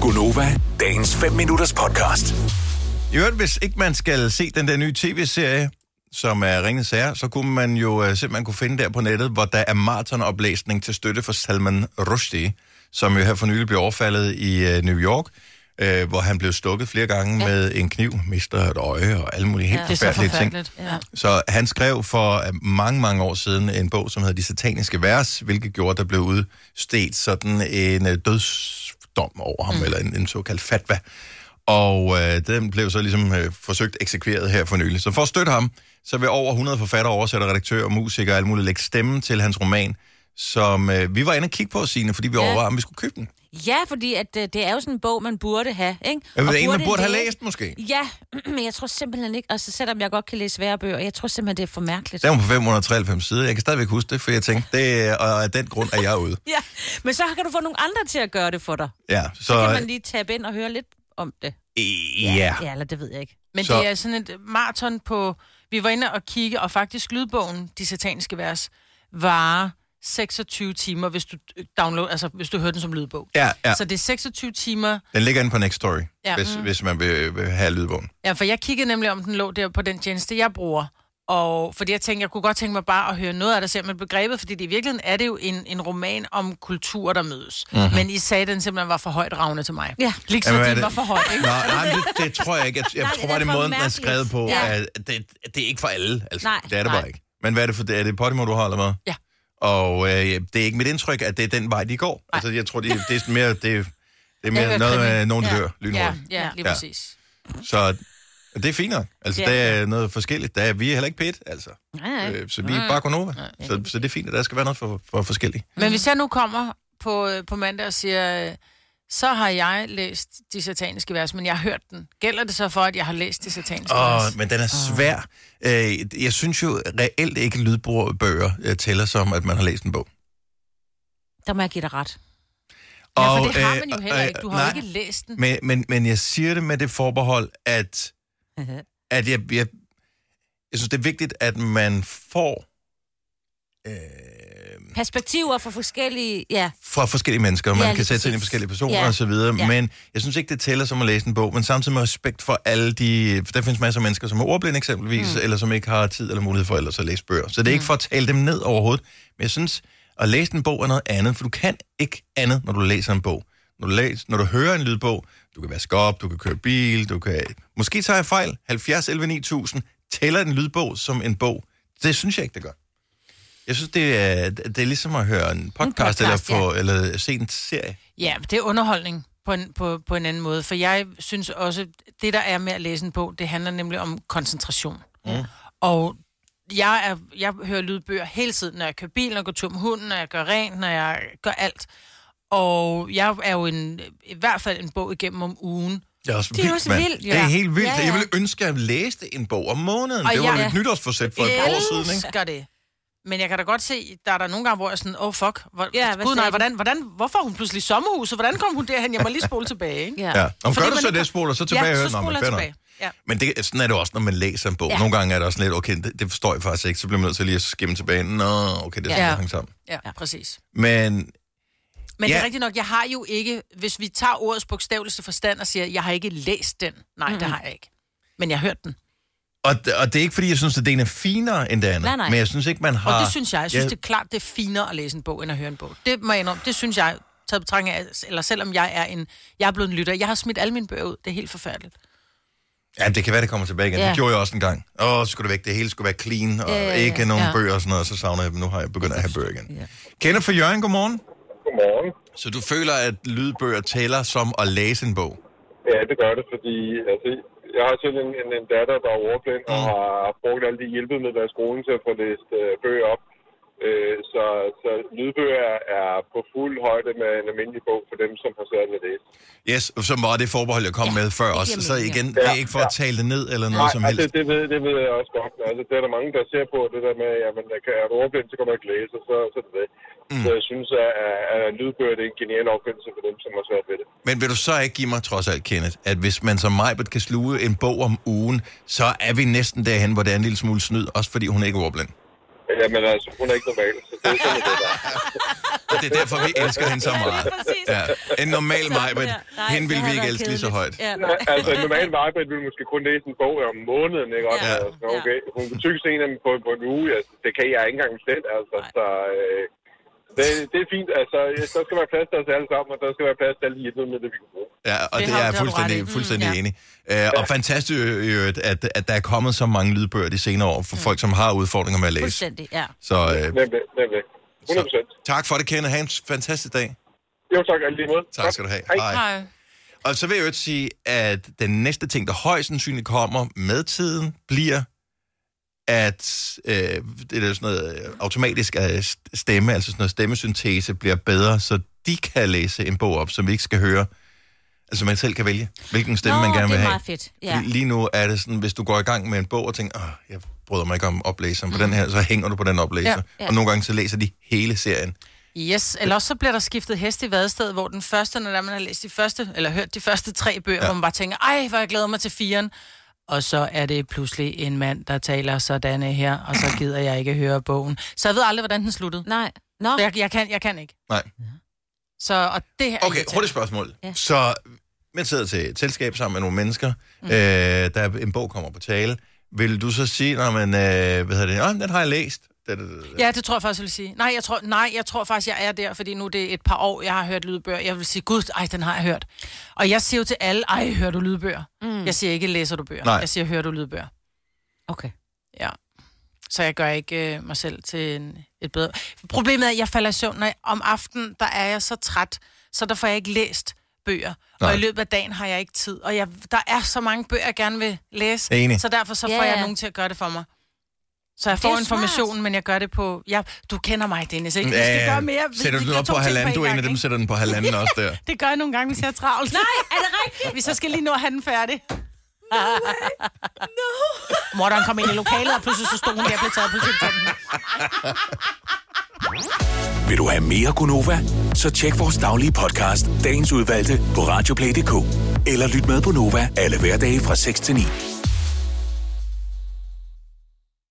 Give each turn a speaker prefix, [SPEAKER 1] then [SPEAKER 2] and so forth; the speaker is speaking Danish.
[SPEAKER 1] Gunova, dagens 5 minutters podcast.
[SPEAKER 2] I øvrigt, hvis ikke man skal se den der nye tv-serie, som er Ringens Sager, så kunne man jo øh, simpelthen kunne finde der på nettet, hvor der er maratonoplæsning til støtte for Salman Rushdie, som jo her for nylig blev overfaldet i øh, New York, øh, hvor han blev stukket flere gange ja. med en kniv, mister et øje og alle mulige helt ja,
[SPEAKER 3] Det er så
[SPEAKER 2] forfærdelige ting.
[SPEAKER 3] forfærdeligt. Ja.
[SPEAKER 2] Så han skrev for øh, mange, mange år siden en bog, som hedder De Sataniske Vers, hvilket gjorde, at der blev udstedt sådan en øh, dødsdom over ham, mm. eller en, en såkaldt fatwa. Og øh, den blev så ligesom øh, forsøgt eksekveret her for nylig. Så for at støtte ham, så vil over 100 forfattere, oversætter, redaktører, musikere og alt muligt lægge stemme til hans roman, som øh, vi var inde og kigge på, Signe, fordi vi
[SPEAKER 4] Ja.
[SPEAKER 2] overvejede, om vi skulle købe den.
[SPEAKER 4] Ja, fordi at, øh, det er jo sådan en bog, man burde have, ikke?
[SPEAKER 2] Jeg ved
[SPEAKER 4] Og
[SPEAKER 2] ikke, man burde have
[SPEAKER 4] læse.
[SPEAKER 2] læst måske.
[SPEAKER 4] Ja, men jeg tror simpelthen ikke, altså selvom jeg godt kan læse svære bøger, jeg tror simpelthen, det er for mærkeligt.
[SPEAKER 2] Den var på 593 sider. Jeg kan stadigvæk huske det, for jeg tænkte, det, er- og af den grund er jeg ude.
[SPEAKER 4] Ja, men så kan du få nogle andre til at gøre det for dig.
[SPEAKER 2] Ja, så...
[SPEAKER 4] Kan man lige tabe ind og høre lidt om det?
[SPEAKER 2] øh, ja.
[SPEAKER 4] Ja, eller det ved jeg ikke.
[SPEAKER 3] Men
[SPEAKER 2] Så-
[SPEAKER 3] så... det er sådan et maraton på... Vi var inde og kigge, og faktisk lydbogen, de sataniske vers, varer 26 timer, hvis du download, altså hvis du hører den som lydbog.
[SPEAKER 2] Ja, ja.
[SPEAKER 3] Så det er 26 timer.
[SPEAKER 2] Den ligger inde på Next Story, ja.
[SPEAKER 3] Ja.
[SPEAKER 2] hvis, mm. hvis man vil, vil have lydbogen.
[SPEAKER 3] Ja, for jeg kiggede nemlig, om den lå der på den tjeneste, jeg bruger. Og fordi jeg tænkte, jeg kunne godt tænke mig bare at høre noget af det selv med begrebet, fordi det i virkeligheden er det jo en, en roman om kulturer, der mødes. Mm-hmm. Men I sagde, at den simpelthen var for højt ravne til mig.
[SPEAKER 4] Ja.
[SPEAKER 3] Ligesom
[SPEAKER 2] Mhm. Jamen, er
[SPEAKER 3] den
[SPEAKER 2] det-
[SPEAKER 3] var for høj, ikke?
[SPEAKER 2] Nå, nej, men det, det tror jeg ikke. Jeg, jeg
[SPEAKER 4] Nej,
[SPEAKER 2] tror
[SPEAKER 4] det
[SPEAKER 2] bare,
[SPEAKER 4] er
[SPEAKER 2] det er
[SPEAKER 4] for
[SPEAKER 2] måden, den er skrevet på.
[SPEAKER 4] mærkeligt.
[SPEAKER 2] Ja. At det, det er ikke for alle. Altså,
[SPEAKER 4] Nej,
[SPEAKER 2] det er det
[SPEAKER 4] nej.
[SPEAKER 2] bare ikke. Men hvad er det for? Er det Podimo, du har, eller hvad?
[SPEAKER 3] Ja.
[SPEAKER 2] Og øh, det er ikke mit indtryk, at det er den vej, de går. Nej. Altså, jeg tror, det, det er sådan mere, det, det er mere
[SPEAKER 3] Det
[SPEAKER 2] det
[SPEAKER 3] er
[SPEAKER 2] noget
[SPEAKER 3] krimi.
[SPEAKER 2] med nogen, der
[SPEAKER 3] Ja.
[SPEAKER 2] dør
[SPEAKER 3] Ja,
[SPEAKER 2] lynhurtigt.
[SPEAKER 3] ja, lige
[SPEAKER 2] Ja.
[SPEAKER 3] præcis.
[SPEAKER 2] Så det er fint nok. Altså,
[SPEAKER 4] Ja.
[SPEAKER 2] ja. det er noget forskelligt. Der er, vi er heller ikke pæt, altså.
[SPEAKER 4] Nej, nej.
[SPEAKER 2] Øh, så vi er bare Gonova. Så, så det er fint, at der skal være noget for, for forskelligt.
[SPEAKER 3] Men hvis jeg nu kommer på, øh, på mandag og siger, øh, så har jeg læst de sataniske vers, men jeg har hørt den. Gælder det så for, at jeg har læst de sataniske
[SPEAKER 2] Åh,
[SPEAKER 3] vers?
[SPEAKER 2] men den er svær. Øh, jeg synes jo reelt ikke, at lydbøger øh, tæller som, at man har læst en bog.
[SPEAKER 4] Der må jeg give dig ret.
[SPEAKER 3] Ja, for det har man jo heller ikke. Du har jo
[SPEAKER 2] øh, nej,
[SPEAKER 3] ikke læst den.
[SPEAKER 2] Men, men, men jeg siger det med det forbehold, at, at jeg, jeg, jeg synes, det er vigtigt, at man får øh,
[SPEAKER 4] Perspektiver fra forskellige... Ja,
[SPEAKER 2] fra forskellige mennesker, og man
[SPEAKER 4] Ja,
[SPEAKER 2] ja, kan
[SPEAKER 4] lige
[SPEAKER 2] sætte sig ind i
[SPEAKER 4] præcis.
[SPEAKER 2] forskellige personer ja.
[SPEAKER 4] Ja.
[SPEAKER 2] og så videre, ja.
[SPEAKER 4] Ja.
[SPEAKER 2] men jeg synes ikke, det tæller som at læse en bog, men samtidig med respekt for alle de... For der findes masser af mennesker, som er ordblinde eksempelvis, mm. eller som ikke har tid eller mulighed for ellers at læse bøger. Så det er mm. ikke for at tale dem ned overhovedet, men jeg synes, at læse en bog er noget andet, for du kan ikke andet, når du læser en bog. Når du, læser, når du hører en lydbog, du kan vaske op, du kan køre bil, du kan... Måske tager jeg fejl, 70 11 9000, tæller en lydbog som en bog. Det synes jeg ikke, det gør. Jeg synes, det er, det er ligesom at høre en podcast, en podcast
[SPEAKER 4] podcast,
[SPEAKER 2] eller, få, ja. eller se en serie.
[SPEAKER 3] Ja, men det er underholdning på en, på, på en anden måde. For jeg synes også, det der er med at læse en bog, det handler nemlig om koncentration. Mm. Og jeg, er, jeg hører lydbøger hele tiden, når jeg kører bil, når jeg går tur med hunden, når jeg gør rent, når jeg gør alt. Og jeg er jo en, i hvert fald en bog igennem om ugen.
[SPEAKER 2] Det er også
[SPEAKER 4] Det er også
[SPEAKER 2] mand.
[SPEAKER 4] vildt, ja.
[SPEAKER 2] Det er helt vildt.
[SPEAKER 4] Ja,
[SPEAKER 2] Ja,
[SPEAKER 4] ja.
[SPEAKER 2] Jeg ville ønske, at jeg læste en bog om måneden.
[SPEAKER 3] Og
[SPEAKER 2] det var
[SPEAKER 3] jeg-
[SPEAKER 2] ja. mit nytårsforsæt for et par år siden, ikke?
[SPEAKER 3] elsker det. Men jeg kan da godt se, der er der nogle gange, hvor jeg er sådan, oh fuck, hvor,
[SPEAKER 4] Ja,
[SPEAKER 3] ja,
[SPEAKER 4] hvad
[SPEAKER 3] gud
[SPEAKER 4] sagde
[SPEAKER 3] nej,
[SPEAKER 4] du?
[SPEAKER 3] hvordan, hvordan, hvorfor er hun pludselig i sommerhuset? Hvordan kom hun derhen? Jeg må lige spole tilbage, ikke?
[SPEAKER 4] ja.
[SPEAKER 2] Ja.
[SPEAKER 4] ja.
[SPEAKER 2] Om
[SPEAKER 3] Fordi
[SPEAKER 2] gør du
[SPEAKER 3] man
[SPEAKER 2] så
[SPEAKER 3] ikke-
[SPEAKER 2] det, spoler så tilbage.
[SPEAKER 3] ja,
[SPEAKER 2] Nå,
[SPEAKER 3] så
[SPEAKER 2] men
[SPEAKER 3] spoler jeg
[SPEAKER 2] fair nok.
[SPEAKER 3] tilbage. Ja.
[SPEAKER 2] Men det, sådan er det også, når man læser en bog. Ja. Nogle gange er det også lidt, okay, det, det forstår jeg faktisk ikke, så bliver man nødt til lige at skimme tilbage. Nå, okay, det er sådan,
[SPEAKER 3] Ja.
[SPEAKER 2] ja. hang sammen.
[SPEAKER 3] Ja, ja, præcis.
[SPEAKER 2] Men
[SPEAKER 3] Men ja. det
[SPEAKER 2] Ja.
[SPEAKER 3] er rigtigt nok, jeg har jo ikke, hvis vi tager ordets bogstaveligste forstand og siger, jeg har ikke læst den. Nej, mm. det har jeg ikke. Men jeg har hørt den.
[SPEAKER 2] og, og det er ikke, fordi jeg synes, at det ene er finere end det andet.
[SPEAKER 4] Nej, nej.
[SPEAKER 2] Men jeg synes ikke, man
[SPEAKER 3] Og
[SPEAKER 2] har...
[SPEAKER 3] det synes jeg. Jeg synes,
[SPEAKER 2] Ah, Ja.
[SPEAKER 3] det er klart, det er finere at læse en bog, end at høre en bog. Det må jeg indrømme. Det synes jeg, taget betragtning af, eller selvom jeg er en, jeg er blevet en lytter. Jeg har smidt alle mine bøger ud. Det er helt forfærdeligt.
[SPEAKER 2] Ja, det kan være, det kommer tilbage igen. Ja.
[SPEAKER 4] Ja.
[SPEAKER 2] Det gjorde jeg også en gang. Åh, så skulle det væk. Det hele skulle være clean, og ja, ja, ja. ikke nogen ja. bøger og sådan noget, og så savner jeg dem. Nu har jeg begyndt at have bøger igen. Ja. Kenneth fra Jørgen, godmorgen.
[SPEAKER 5] Godmorgen.
[SPEAKER 2] Så du føler, at lydbøger tæller som at læse en bog?
[SPEAKER 5] Ja, det gør det, fordi altså, jeg har selv en, en, en datter, der er ordblind, og
[SPEAKER 2] Mm.
[SPEAKER 5] har brugt alle de hjælpemidler i skolen til at få læst øh, bøger op. Øh, så, så lydbøger er på fuld højde med en almindelig bog for dem, som har svært ved at læse.
[SPEAKER 2] Yes, som var det forbehold, jeg kom ja, med før
[SPEAKER 4] det
[SPEAKER 2] også.
[SPEAKER 4] giver
[SPEAKER 2] Så
[SPEAKER 4] mening,
[SPEAKER 2] igen,
[SPEAKER 4] ja.
[SPEAKER 2] det er
[SPEAKER 5] Ja,
[SPEAKER 2] ikke for at tale det ned eller noget som
[SPEAKER 5] altså,
[SPEAKER 2] helst.
[SPEAKER 5] det, ved, det ved jeg også godt. Altså, det er der mange, der ser på det der med, at man kan er du ordblind, så kan man ikke læse, og så, så er det det. Mm. Så jeg synes, at, at- at lydbøger det er en genial opfindelse for dem, som har svært ved det.
[SPEAKER 2] Men vil du så ikke give mig trods alt, Kenneth, at hvis man som Majbert kan sluge en bog om ugen, så er vi næsten derhen, hvor det er en lille smule snyd, også fordi hun ikke er ordblind.
[SPEAKER 5] Jamen altså, hun er ikke normal, så det er sådan, det der.
[SPEAKER 2] Og det er derfor, vi elsker hende så
[SPEAKER 4] Ja, lige
[SPEAKER 2] meget.
[SPEAKER 4] præcis.
[SPEAKER 2] Ja. En normal
[SPEAKER 4] Sådan
[SPEAKER 2] mig, men
[SPEAKER 4] der. Nej,
[SPEAKER 2] hende
[SPEAKER 4] det
[SPEAKER 2] ville vi
[SPEAKER 4] havde
[SPEAKER 2] ikke
[SPEAKER 4] været
[SPEAKER 2] elske lige så højt.
[SPEAKER 4] kedeligt. Ja.
[SPEAKER 5] Nej, altså en normal vejbred ville måske kun læse en bog om måneden, ikke? Og,
[SPEAKER 4] Ja.
[SPEAKER 5] ja. altså, okay. Hun kunne tykke en af dem på, på en uge, altså, det kan jeg ikke engang selv, altså, så... Øh, det, det er fint, altså, der skal være plads til os alle sammen, og der skal være plads til alle de hjælpemidler, det vi kan bruge.
[SPEAKER 2] Ja, og det,
[SPEAKER 3] Det
[SPEAKER 2] det er
[SPEAKER 3] har-
[SPEAKER 2] jeg
[SPEAKER 3] det har du ret
[SPEAKER 2] fuldstændig,
[SPEAKER 3] i. Mm,
[SPEAKER 2] fuldstændig
[SPEAKER 3] ja.
[SPEAKER 2] enig. Øh, og fantastisk i øvrigt, at, at der er kommet så mange lydbøger de senere år for folk, som har udfordringer med at læse.
[SPEAKER 4] Mm. Fuldstændig, ja.
[SPEAKER 2] Så øh,
[SPEAKER 5] Nemlig, nemlig. 100
[SPEAKER 2] Så, tak for det, Kenneth. Ha' en fantastisk dag.
[SPEAKER 5] Jo, tak, og i lige måde.
[SPEAKER 2] Tak skal du have.
[SPEAKER 5] Hej.
[SPEAKER 3] Nej.
[SPEAKER 2] Og så vil jeg jo sige, at den næste ting, der højst sandsynligt kommer med tiden, bliver, at øh, det er jo sådan noget øh, automatisk øh, stemme, altså sådan noget stemmesyntese, bliver bedre, så de kan læse en bog op, som vi ikke skal høre. Altså man selv kan vælge, hvilken stemme
[SPEAKER 4] Nå,
[SPEAKER 2] man gerne
[SPEAKER 4] det
[SPEAKER 2] vil
[SPEAKER 4] er
[SPEAKER 2] have.
[SPEAKER 4] meget fedt. Ja.
[SPEAKER 2] Fordi Lige nu er det sådan, hvis du går i gang med en bog og tænker, Åh, jeg bryder mig ikke om oplæseren på den her, så hænger du på den oplæser. Ja, ja.
[SPEAKER 3] Ja,
[SPEAKER 4] Mm. ja.
[SPEAKER 2] Og nogle gange så læser de hele serien.
[SPEAKER 3] Yes, eller også så bliver der skiftet hest i vadestedet, hvor den første, når man har læst de første, eller hørt de første tre bøger, ja. hvor man bare tænker, ej, hvor jeg glæder mig til firen. Og så er det pludselig en mand, der taler sådan her, og så gider jeg ikke høre bogen. Så jeg ved aldrig, hvordan den sluttede.
[SPEAKER 4] Nej. Nå,
[SPEAKER 3] Jeg, jeg, kan, jeg kan ikke.
[SPEAKER 2] Nej.
[SPEAKER 3] Så, og det her er
[SPEAKER 2] Okay,
[SPEAKER 3] irriterende.
[SPEAKER 2] hurtigt spørgsmål. Ja.
[SPEAKER 4] Ja.
[SPEAKER 2] Så man sidder til et selskab sammen med nogle mennesker, mm. øh, der er en bog kommer på tale. Vil du så sige, når man, øh, hvad hedder det, oh, den har jeg læst. Da, da, da, da.
[SPEAKER 3] Ja, det tror jeg faktisk, jeg vil sige. Nej, jeg tror, nej, jeg tror faktisk, jeg er der, fordi nu er det et par år, jeg har hørt lydbøger. Jeg vil sige, gud, ej, den har jeg hørt. Og jeg siger jo til alle, ej, hører du lydbøger? Mm. Jeg siger ikke, læser du bøger?
[SPEAKER 2] Nej.
[SPEAKER 3] Jeg siger, hører du lydbøger?
[SPEAKER 4] okay.
[SPEAKER 3] Ja. Så jeg gør ikke øh, mig selv til en, et bedre... Problemet er, at jeg falder i søvn, når jeg, om aftenen, der er jeg så træt, så der får jeg ikke læst bøger. Nej.
[SPEAKER 2] Nej.
[SPEAKER 3] Og i løbet af dagen har jeg ikke tid. Og jeg, der er så mange bøger, jeg gerne vil læse.
[SPEAKER 2] Enig.
[SPEAKER 3] Så derfor så får
[SPEAKER 4] Ja,
[SPEAKER 3] yeah. jeg
[SPEAKER 4] ja.
[SPEAKER 3] nogen til at gøre det for mig. Så jeg
[SPEAKER 4] Det
[SPEAKER 3] får
[SPEAKER 4] er
[SPEAKER 3] informationen,
[SPEAKER 4] smart.
[SPEAKER 3] men jeg gør det på... Ja, du kender mig, Dennis, ikke? Vi
[SPEAKER 2] Ja,
[SPEAKER 3] skal gøre mere. Vi-
[SPEAKER 2] Sætter
[SPEAKER 3] vi
[SPEAKER 2] du den
[SPEAKER 3] gør
[SPEAKER 2] op
[SPEAKER 3] to
[SPEAKER 2] på
[SPEAKER 3] ting
[SPEAKER 2] halvanden, du er en af
[SPEAKER 3] gang,
[SPEAKER 2] dem,
[SPEAKER 3] ikke?
[SPEAKER 2] sætter den på halvanden også der.
[SPEAKER 3] Det gør jeg nogle gange, hvis jeg er travlt. Nej,
[SPEAKER 4] Er det rigtigt?
[SPEAKER 3] hvis jeg skal lige nå at have den færdig. No no. Morderen kom ind i lokalet, og pludselig så stod hun der og blev taget på tiltanden.
[SPEAKER 1] Vil du have mere Gunova? Så tjek vores daglige podcast, dagens udvalgte, på radioplay.dk. Eller lyt med på Nova alle hverdage fra 6 til 9.